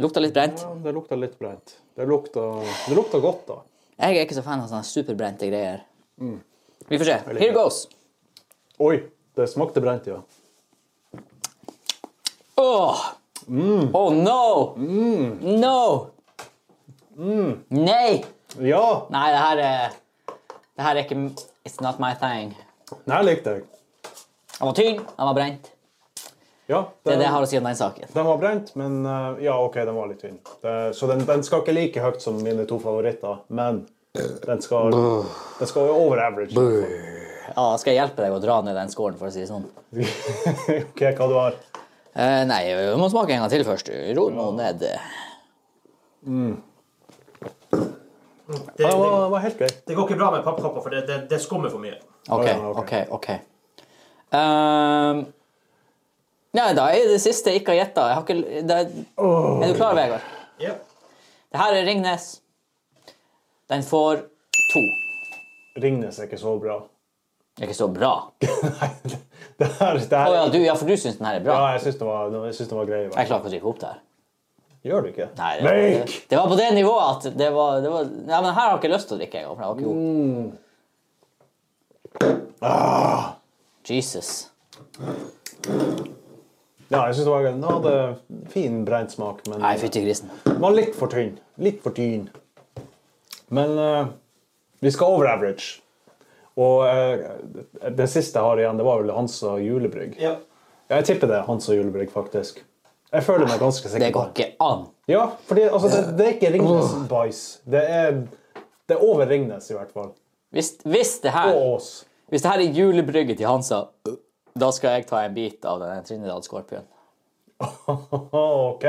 Lukta litt brent. Ja, det lukta litt brent. Det lukta, det lukta godt, da. Jeg er ikke så fan av sånne superbrente greier. Vi får se. Here goes. Oi, det smakte brent, ja. Åh! Oh no! No! Nei! Ja! Nei, det her er Det her er ikke It's not my thing. Den her likte jeg. Han var tynn, han var brent. Ja, Det er den, det jeg har å si om den saken. den var brent, men eh, ja, OK, den var litt tynn. Det, så den, den skal ikke like høyt som mine to favoritter, men den skal, den skal være over average. Ja, skal jeg hjelpe deg å dra ned den skålen, for å si det sånn? OK, hva du har? Eh, nei, vi må smake en gang til først. Ro nå ned. Det, Den var, det, den var helt grei. det går ikke bra med pappkopper, for det, det, det skummer for mye. OK, Ja, ok. OK, OK. Ehm, nei, da er det siste jeg ikke har gjetta. Jeg har ikke det, Er du klar, Vegard? Ja. Det her er Ringnes. Den får to. Ringnes er ikke så bra. Det er ikke så bra. Å Nei, det, det her, det her ja, du, ja, for du syns den her er bra? Ja, jeg syns det var, jeg syns det var grei. i hvert fall. Jeg klarer ikke å drikke opp det her. Gjør du ikke? Nei, det, det, Make! det var på det nivået at det var, det var Ja, men her har jeg ikke lyst til å drikke, jeg. for jeg har ikke opp. Mm. Ah. Jesus. Ja, jeg synes det var Den hadde fin brent smak, men Nei, fytti grisen. den var litt for tynn. Litt for tynn. Men eh, vi skal over average. Og eh, det siste jeg har igjen, det var vel Hansa julebrygg. Ja. Jeg tipper det er Hansa julebrygg, faktisk. Jeg føler meg ganske sikker. Det på går ikke an. Ja, fordi altså, det, det er ikke Ringnes Bæsj. Det er, det er over Ringnes, i hvert fall. Hvis, hvis, det her, Og Ås. hvis det her er julebrygget til Hansa, da skal jeg ta en bit av den Trinidad Scorpion. OK.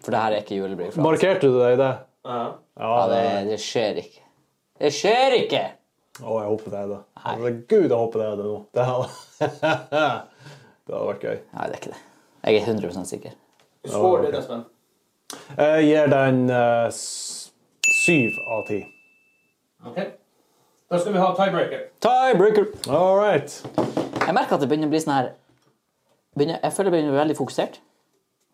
For det her er ikke julebrygg fra Hansa. Markerte du deg i det? Ja. Ja, det, det skjer ikke. Det skjer ikke! Å, jeg håper det er det. Herregud, jeg håper det er det nå. Det hadde, det hadde vært gøy. Nei, det er ikke det. Jeg er 100 sikker. Du skårer det, Espen. Jeg gir den eh, s- syv av ti. Ok. Da skal vi ha tiebreaker. Tiebreaker. All right. Jeg merker at det begynner å bli sånn her begynner, Jeg føler jeg begynner å bli veldig fokusert.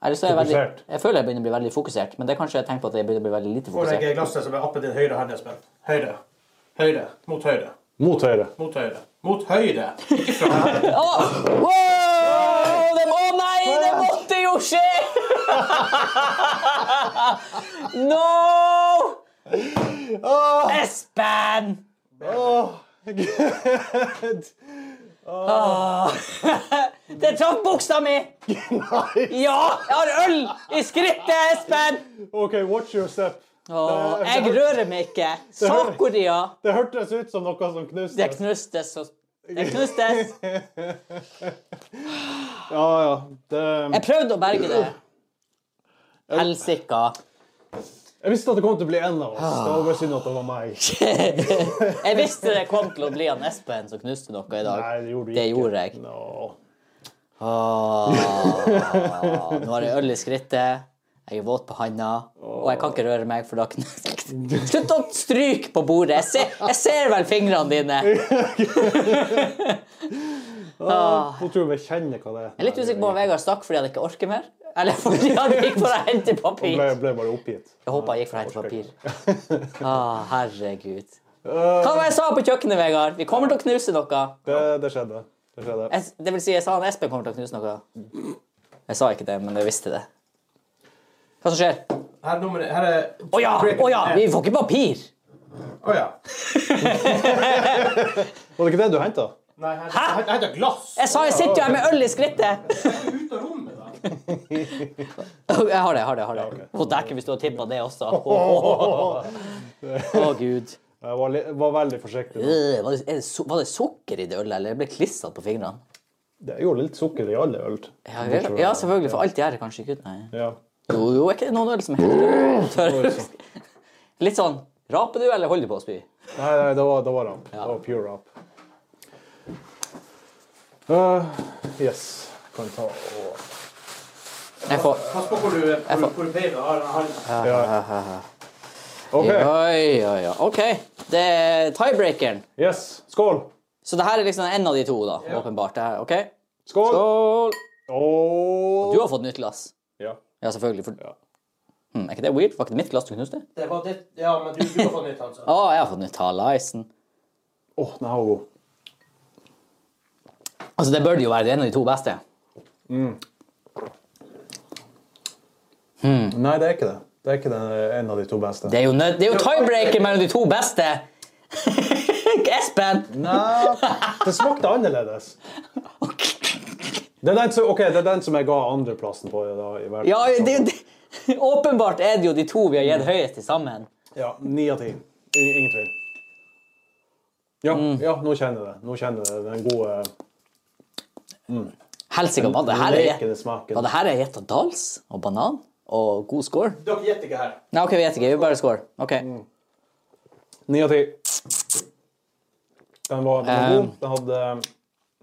Eller så er jeg, Fokusert. veldig, jeg føler jeg begynner å bli veldig fokusert, men det er kanskje jeg tenker på at jeg begynner å bli veldig lite Får fokusert. jeg glasset som er oppe din høyre hånd, Espen? Høyre. Høyre. Mot høyre. Mot høyre. Mot høyre. Mot høyre! Ikke fra her. Å wow! Det må, nei, det måtte jo skje! no! Espen! Gud. Det traff buksa mi! Ja, jeg har øl i skrittet, Espen! OK, watch your step. Åh, jeg rører meg ikke. hører- Sakoria. Det hørtes ut som noe som Det knuste. knustes og Det knustes. Ja, ja. Det, Jeg prøvde å berge det. Helsika. jeg visste at det kom til å bli en av oss. Ah. Det var bare synd at det var meg. Jeg visste det kom til å bli han Espen som knuste noe i dag. Nei, det gjorde du ikke. Det gjorde jeg. No. Åh, Ah, nå har jeg øl i skrittet, jeg er våt på handa, og jeg kan ikke røre meg, for da kn- Slutt å stryke på bordet! Jeg ser, jeg ser vel fingrene dine! Jeg Nå tror jeg vi kjenner hva det er. er litt usikker på om Vegard stakk fordi han ikke orker mer, eller fordi han gikk for å hente papir. ble, ble bare oppgitt. Jeg håper han gikk for å hente papir. Ah, herregud. Hva var det jeg sa på kjøkkenet, Vegard? Vi kommer til å knuse noe. Eh, Det, det skjedde. Det skjedde. Jeg, det vil si, jeg sa han Espen kommer til å knuse noe. Jeg sa ikke det, men jeg visste det. Hva som skjer? Her, nummer, her er Å ja! Å ja! Vi får ikke papir! Å ja. Var det ikke det du henta? Nei, jeg henter- jeg henter glass. Jeg sa jeg sitter jo her med øl i skrittet! Ut av rommet, da. Jeg har det, jeg har det. jeg har det. Å, dæken, hvis du hadde tippa det også. Å, gud. Jeg var, li- var veldig forsiktig. da. Øh, Var det, er det, su- var det sukker i det ølet, eller ble det klissete på fingrene? Det er jo litt sukker i alle øl. Ja, vel. ja, selvfølgelig, for alt gjør det kanskje ikke ut. Nei. Ja. Jo, jo, er ikke det noen øl som er tørr? Litt sånn Raper du, eller holder du på å spy? Nei, nei, det var, det var rap. Det var pure rap. Eh, yes. Kan ta og Jeg får Pass på hvor du hvor, hvor du peiler. Har- har- OK. Oi, oi, oi. OK. Det er tiebreakeren. Yes. Skål. Så det her er liksom en av de to, da, åpenbart. Det her, OK? Skål. Skål! Og Du har fått nytt glass. Ja. Ja, selvfølgelig. For... Hm, er ikke det weird? Var ikke det mitt glass du knuste? Det var ditt. Ja, men du, du har fått nytt, altså. Å, jeg har fått nytt. Hallaisen. Åh, den her var god. Altså, det bør det jo være. Det er en av de to beste. Nei, det er ikke det. Det er ikke den, eh, en av de to beste. Det er jo, nød... det er jo tiebreaker mellom de to beste! Espen! Nei, det smakte annerledes. Det er den som, ok, det er den som jeg ga andreplassen på da, i verden. Ja, det, det... Åpenbart er det jo de to vi har gitt høyest til sammen. Ja, Ni av ti. I- Ingen tvil. Ja, Mm. ja, nå kjenner jeg det. Nå kjenner jeg det. Den gode Helsike, hva det her er? lekende smaken. Var det her er gjett av dals og banan og god score? Dere gjetter ikke her. Nei, OK, vi vet ikke. Vi bare score. OK. Ni av ti. Den var, den var god. Den hadde eh,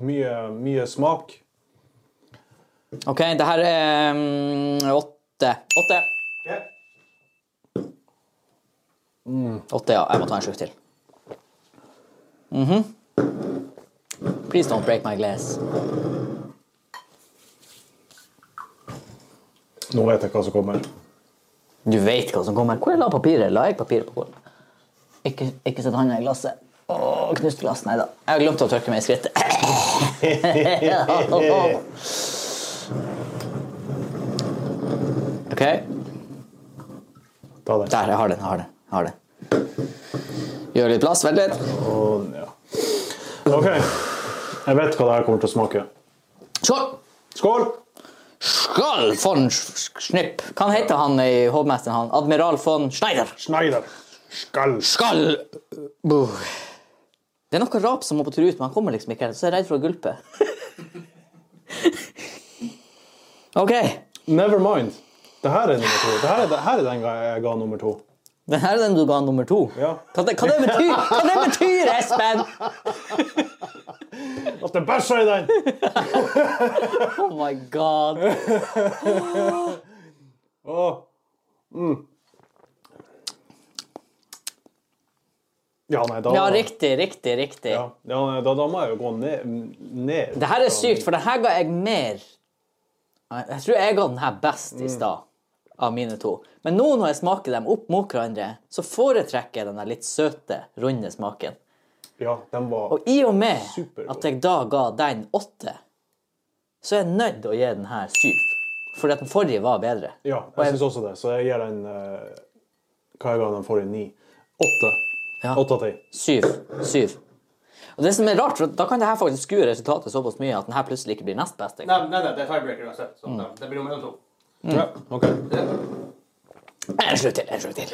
mye, mye smak. Ok, Det her er mm, åtte. Åtte. Ja. Åtte, ja. Jeg må ta en slurk til. Mhm. Please don't break my glass. Nå vet jeg hva som kommer. Du vet hva som kommer. Hvor la jeg papiret? La jeg papiret på bordet? Ikke, ikke sett hånda i glasset. Å, knust glass. Nei da. Jeg har glemt å tørke meg i skrittet. OK. Ta den. Der. Jeg har den. Jeg har den. Jeg har den. Gjør litt plass. Vent litt. Og, Sånn, ja. OK. Jeg vet hva det her kommer til å smake. Skål! Skål! Skål von Sch- Schnipp. Hva heter han i hovmesteren? han? Admiral von Schneider. Schneider. Skall. Skål! uh, Buh. Det er noe rap som må på tur ut, men han kommer liksom ikke. her, Så jeg er redd for å gulpe. OK. Never mind. Det her er nummer to. Det her er, det her er den ga- jeg ga nummer to. Den her er den du ga nummer to. Ja. Hva, det, hva, det betyr, hva det betyr, Espen? At det bæsja i den! Oh my god. Åh. Mm. Ja, nei, da Ja, riktig, riktig, riktig. Ja, ja, nei, da, da må jeg jo gå ned. ned. Det her er sykt, for det her ga jeg mer Jeg tror jeg ga den her best i stad av mine to. Men nå når jeg smaker dem opp mot hverandre, så foretrekker jeg den der litt søte, runde smaken. Ja, den var Og i og med Supergod. at jeg da ga den åtte, så er jeg nødt til å gi den her syv. Fordi at den forrige var bedre. Ja, jeg syns også det. Så jeg gir den eh, Hva jeg ga den forrige? Ni? Åtte. Ja. Åtte av ti. Syv. Syv. Og det som er rart, for da kan det her faktisk skue resultatet såpass mye at den her plutselig ikke blir nest best. Nei, nei, nei, det er tiebreaker uansett. Så det- det blir nummer én og to. Ja, Mm. OK. En slutt til, en slutt til.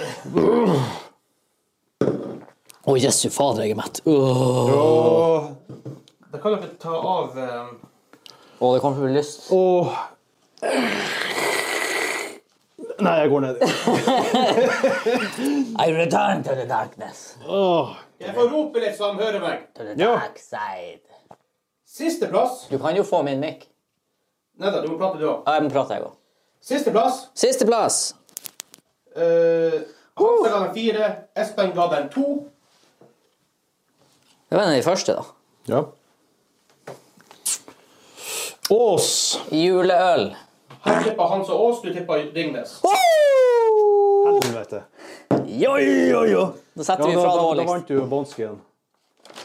Å, jesu fader, jeg er mett. Åh. Åh. Da kan dere ta av eh, Åh, det kommer til å bli lyst. Åh. Nei, jeg går ned. I return to the darkness. Åh. Jeg får rope litt, sånn så de hører meg. To the Ja. dark side. Sisteplass Du kan jo få min mic. Nei da, du må prate, du òg. Ja, jeg må prate, jeg òg. Sisteplass. Sisteplass. Uh, Hansa ga den fire. Espen ga den to. Det var en av de første, da. Ja. Ås. Juleøl. Jeg tippa Hans og Aas, du tippa Ringnes. Woo! Helvete. Jo, jo, jo. Da Ja, setter vi da, fra liksom. det da, da årligst. vant du båndsken.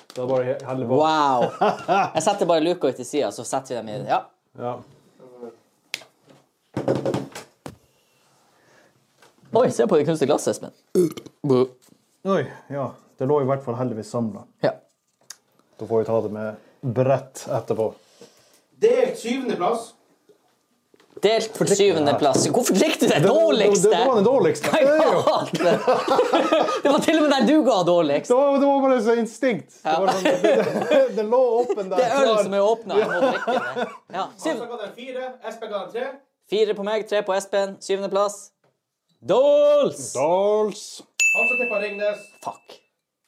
Det er bare he- helle på. Wow. Jeg setter bare luka ut til sida, så setter vi dem i Ja. Ja. Oi, se på det kunstige glasset, Espen. Oi, ja. Det lå i hvert fall heldigvis samla. Ja. Da får vi ta det med brett etterpå. Delt syvendeplass. Delt på syvendeplass. Hvorfor likte du eh? det dårligste? Det, det var den dårligste. Hva Det, er er jo- galt? Det var til og med der du ga dårligst. det, var, det var bare så instinkt. Det, var sånn, det, det lå åpen der. Det er ølen klar. som er åpna. Jeg må drikke det. Ja. Syv. Hansa ga den fire. Espen ga den tre. Fire på meg, tre på Espen. Syvendeplass. Dolls! Dolls. Hansa tippa Ringnes. Fuck.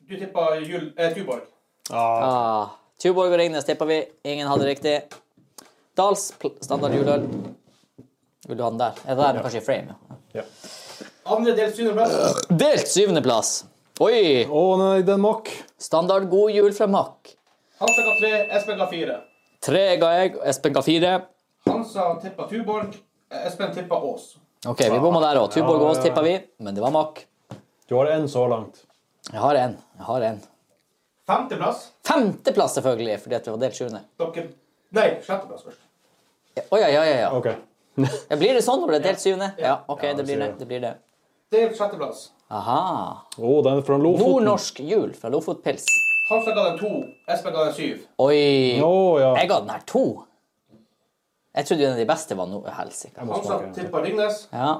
Du tippa Jul... Eh, Tuborg. Ah. Tuborg og Ringnes tippa vi. Ingen hadde riktig. Dahls pl- standard juleøl. Vil du ha den der? Er det der kanskje i frame? Ja. Ja. Andre delt syvendeplass. Delt syvendeplass. Oi! Å nei, den makk. Standard god jul fra Mack. Hansa ga tre. Espen ga fire. Tre ga jeg, og Espen ga fire. Hansa tippa Tuborg. eh, Espen tippa Ås. Ok, vi bomma der òg. Tuborg og Ås tippa vi, men det var Mack. Du har en så langt. Jeg har en. Jeg har en. Femteplass. Femteplass, selvfølgelig, fordi at vi var delt sjuende. Dere Nei, sjetteplass først. Ja, Å ja, ja, ja. ja. Ok. ja. Blir det sånn når det er delt syvende? Ja, OK, Ja, det blir sier det. det. det, blir det. Delt sjetteplass. Aha. Å, den er fra Lofoten. Nordnorsk jul fra Lofotpils. Hansa ga den to. Espen ga den syv. Oi. Å ja. Jeg ga den her to. Jeg trodde en av de beste var no Helsike. Jeg må Hansa smake. tippa Ringnes. Ja.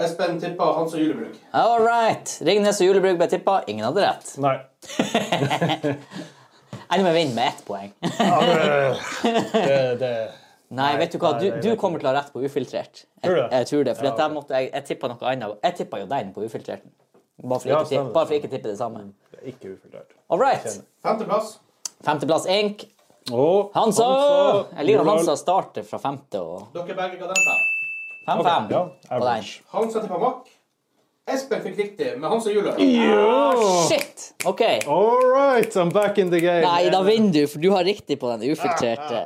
Espen tippa Hansa Julebruk. All right. Ringnes og Julebrygg ble tippa. Ingen hadde rett. Nei. Ender med å vinne med ett poeng. Det, det. Nei, vet du hva? nei, Du, nei, du nei. kommer til å ha rett på ufiltrert. Jeg, Tror du det? jeg tror det, for at der måtte jeg, jeg tippa noe annet. Jeg tippa jo den på ufiltrerten. Bare for, Ja, ikke, tipp- stemmer. bare for ikke tippe det samme. det er ikke ufiltrert. All right. Kjenner. Femteplass. Femteplass Ink. Å, Hansa! Jeg liker at Juleøl. Hansa starter fra femte og Dere begge ga den fem. fem-fem. Ja, på den. average. Hansa tippa Mack. Espen fikk riktig med Hansa Julebruk. Ah, shit! OK. All right, I'm back in the game. Nei, da vinner du, for du har riktig på den ufiltrerte,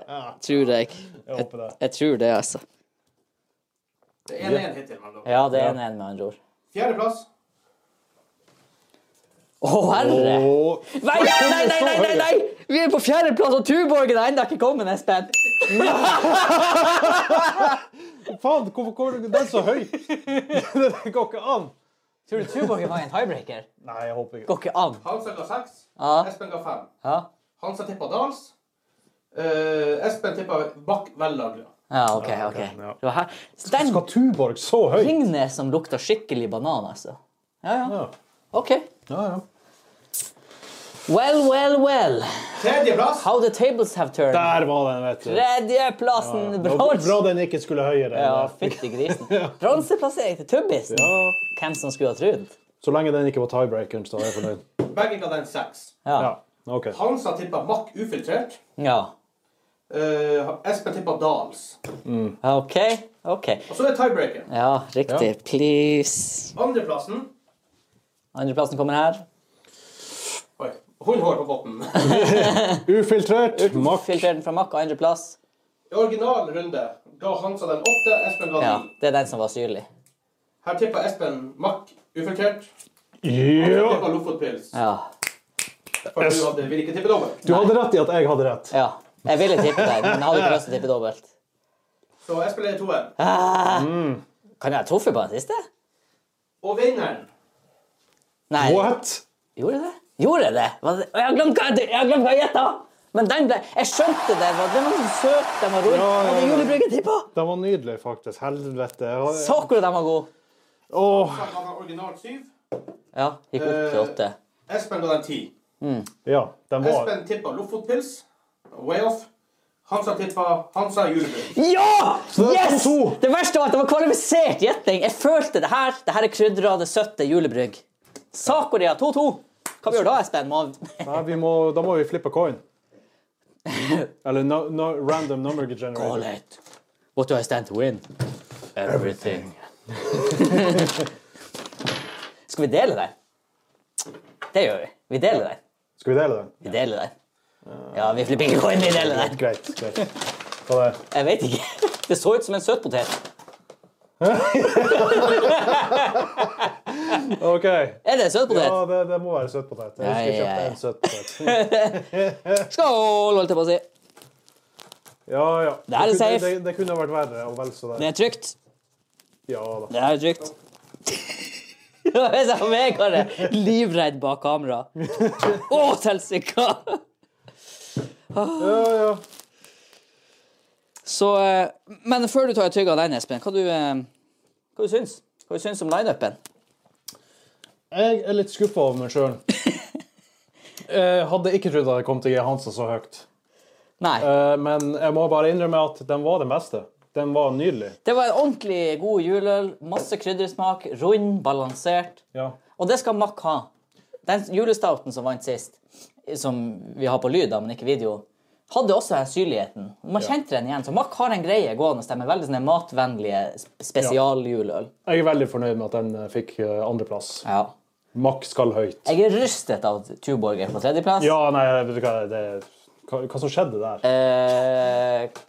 tror jeg. Jeg håper det. Jeg tror det, altså. Det er 1-1 hittil. mellom dere. Ja, det er en en med andre ord. Fjerdeplass. Å, herre! Å, Nei, nei, nei, nei, nei, nei, nei! Vi er på fjerdeplass, og Tuborgen er ennå ikke kommet, Espen. faen, hvorfor kommer du den så høy? Det går ikke an. Tror du Tuborgen var en tiebreaker? Nei, jeg håper ikke. Går ikke an. Hansa ga seks. Ja. Espen ga fem. Ja, Hansa tippa Dals. Eh, Espen tippa Bakk Vellagra. ja OK. ok. ja. Det var her. Så den Skal Tuborg så høy? Ringnes som lukta skikkelig banan, altså. Ja, ja. Ja, OK. ja. ja. Well, well, well. Tredjeplass. How the tables have turned. Der var den, vet du. Tredjeplassen, Bra, bra bronse. den ikke skulle høyere. Ja, fytti grisen. Bronseplassering til Tubbisen. Ja. Hvem som skulle ha trodd? Så lenge den ikke var tiebreakeren, så er jeg fornøyd. Begge ga den seks. Ja. Ja, ok. Hansa tippa Mack ufiltrert. ja. Eh, Espen tippa Dals. OK. OK. Og så er tiebreaker. Ja, riktig. Please. Andreplassen Andreplassen kommer her. Oi. Hundhår på bunnen. Ufiltrert. Makk. Filtreren fra Mack, andreplass. I original runde ga Hansa den åtte, Espen ga ni. Ja, det er den som var syrlig. Her tippa Espen Mack ufiltrert. Ja. Tippa Lofotpils. Ja. For du hadde vil ikke tippe dobbelt. Du hadde rett i at jeg hadde rett. ja. Jeg ville tippe den, men jeg hadde ikke lyst til å tippe dobbelt. Ah. Så Espen leder 2-1. Mm. Kan jeg ha truffet på den siste? Og vinneren Nei. What? Gjorde jeg det? Gjorde jeg det? Var det? Og jeg har glemt hva jeg- jeg har glemt hva jeg gjetta! Men den ble Jeg skjønte det. var- Den var så søt. Den var rolig. Ja, ja, Og det ja. julebrygget tippa! Den var nydelig, faktisk. Helvete. Jeg hadde- Så hvor den var god. Åh. ga den originalt 7. Ja, gikk opp til Eh, åtte. Espen ga den 10. Ja, den var Espen tippa Lofotpils. Way off. Hansa tippa Hansa julebrød. Ja! det er Yes! to. Det verste var at det var kvalifisert gjetting. Jeg følte det her. Det her er krydra det søtte julebrygg. Sakoria 2-2. Hva vi gjør da, Espen? Må... Nei, vi må, Da må vi flippe coin. Eller no, no, random number All generator. right. What do I stand to win? Everything. Skal vi dele den? Det gjør vi. Vi deler den. Skal vi dele den? Vi deler den. Ja, vi flipper ikke coin, vi deler den. Greit. greit. Hva er det? Jeg vet ikke. Det så ut som en søtpotet. OK. Er det en søtpotet? Ja, det, det må være søtpotet. Jeg husker jeg Ja, ja, ja. kjøpte en søtpotet. Skål, holdt jeg på å si. Ja, ja. Det her er kunne- safe. Det, det kunne ha vært verre og vel så det. Det er trygt. Ja da. Det er trygt. Hvis jeg og Vegard er livredd bak kamera. Å, helsike! Ja, ja. Så eh, Men før du tar et tygg av den, Espen, hva du, eh, hva du syns Hva du syns om lineupen? Jeg er litt skuffa over meg sjøl. Jeg hadde ikke trodd at jeg kom til G. Hansen så høyt. Nei. Eh, Men jeg må bare innrømme at den var den beste. Den var nydelig. Det var en ordentlig god juleøl. Masse kryddersmak. Rund, balansert. Ja. Og det skal Mack ha. Den julestauten som vant sist, som vi har på lyd, da, men ikke video, hadde også den syrligheten. Man kjente den igjen. Så Mack har en greie gående. De er veldig sånne matvennlige sp- spesialjuleøl. Jeg er veldig fornøyd med at den eh, fikk eh, andreplass. Ja. Max skal høyt. Jeg er rystet av at Tuborg er på tredjeplass. Ja, nei, vet du hva, det, hva, hva som skjedde der? Eh,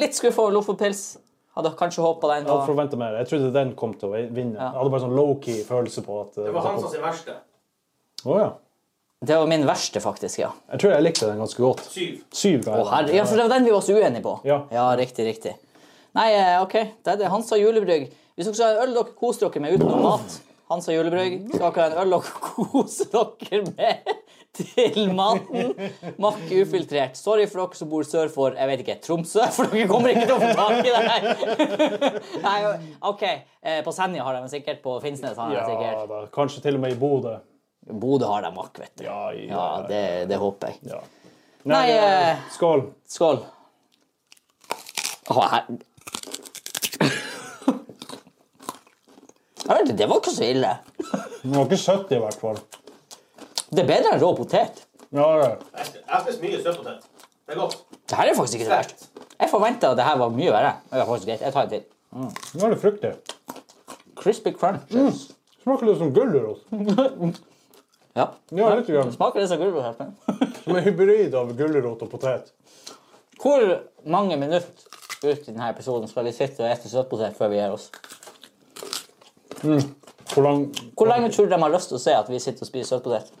litt skuffa over Lofotpils. Hadde kanskje håpa den Jeg hadde var forventa mer. Jeg trodde den kom til å vinne. Jeg hadde bare sånn low-key følelse på at eh, Det var kom- han som sin verste. Å, ja. Det var min verste, faktisk, ja. Jeg tror jeg likte den ganske godt. Syv. Syv ga jeg Å, den. herre- ja, for det var den vi var så uenige på. Ja. riktig, riktig. Nei, eh, OK. Det er det. Hansa julebrygg. Hvis dere skal ha en øl dere koser dere med utenom mat, Hansa julebrygg, skal dere ha en øl dere koser dere med til maten. Makk ufiltrert. Sorry for dere som bor sør for jeg vet ikke, Tromsø, for dere kommer ikke til å få tak i det her. Nei, OK. Eh, På Senja har de den sikkert. På Finnsnes har de den Ja, sikkert. da. Kanskje til og med i Bodø. Bodø har de makk, vet du. Ja, i- Ja, det, det håper jeg. ja. Nei, eh, eh, Skål. Skål. Å, her... Hørte, det var ikke så ille. Den var ikke søtt, i hvert fall. Det er bedre enn rå potet. Ja, ja. Jeg jeg spiser mye søtpotet. Det er godt. Det her er faktisk ikke så verst. Jeg forventa at det her var mye verre. Men det er faktisk greit. Jeg tar en til. Den var litt fruktig. Crispy crunches. Smaker litt som gulrot. Ja. Ja, litt grann. Smaker det som gulrot? Espen? Som en hybrid av gulrot og potet. Hvor mange minutter ut i denne episoden skal vi sitte og spise søtpotet før vi gir oss? Hvor lang Hvor lenge tror du de har lyst til å se at vi sitter og spiser søtpotet?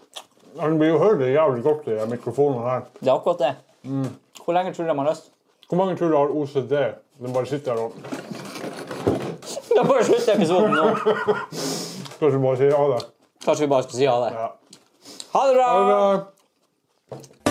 Den blir jo hørt jævlig godt i den mikrofonen her. Det er akkurat det. Hvor lenge tror du de har lyst? Hvor mange tror du har OCD? Den bare sitter her og Da får vi slutte episoden nå. kanskje bare sier ja, det. Kanskje vi bare skal si ha det. Ja. Ha det bra! Men, eh,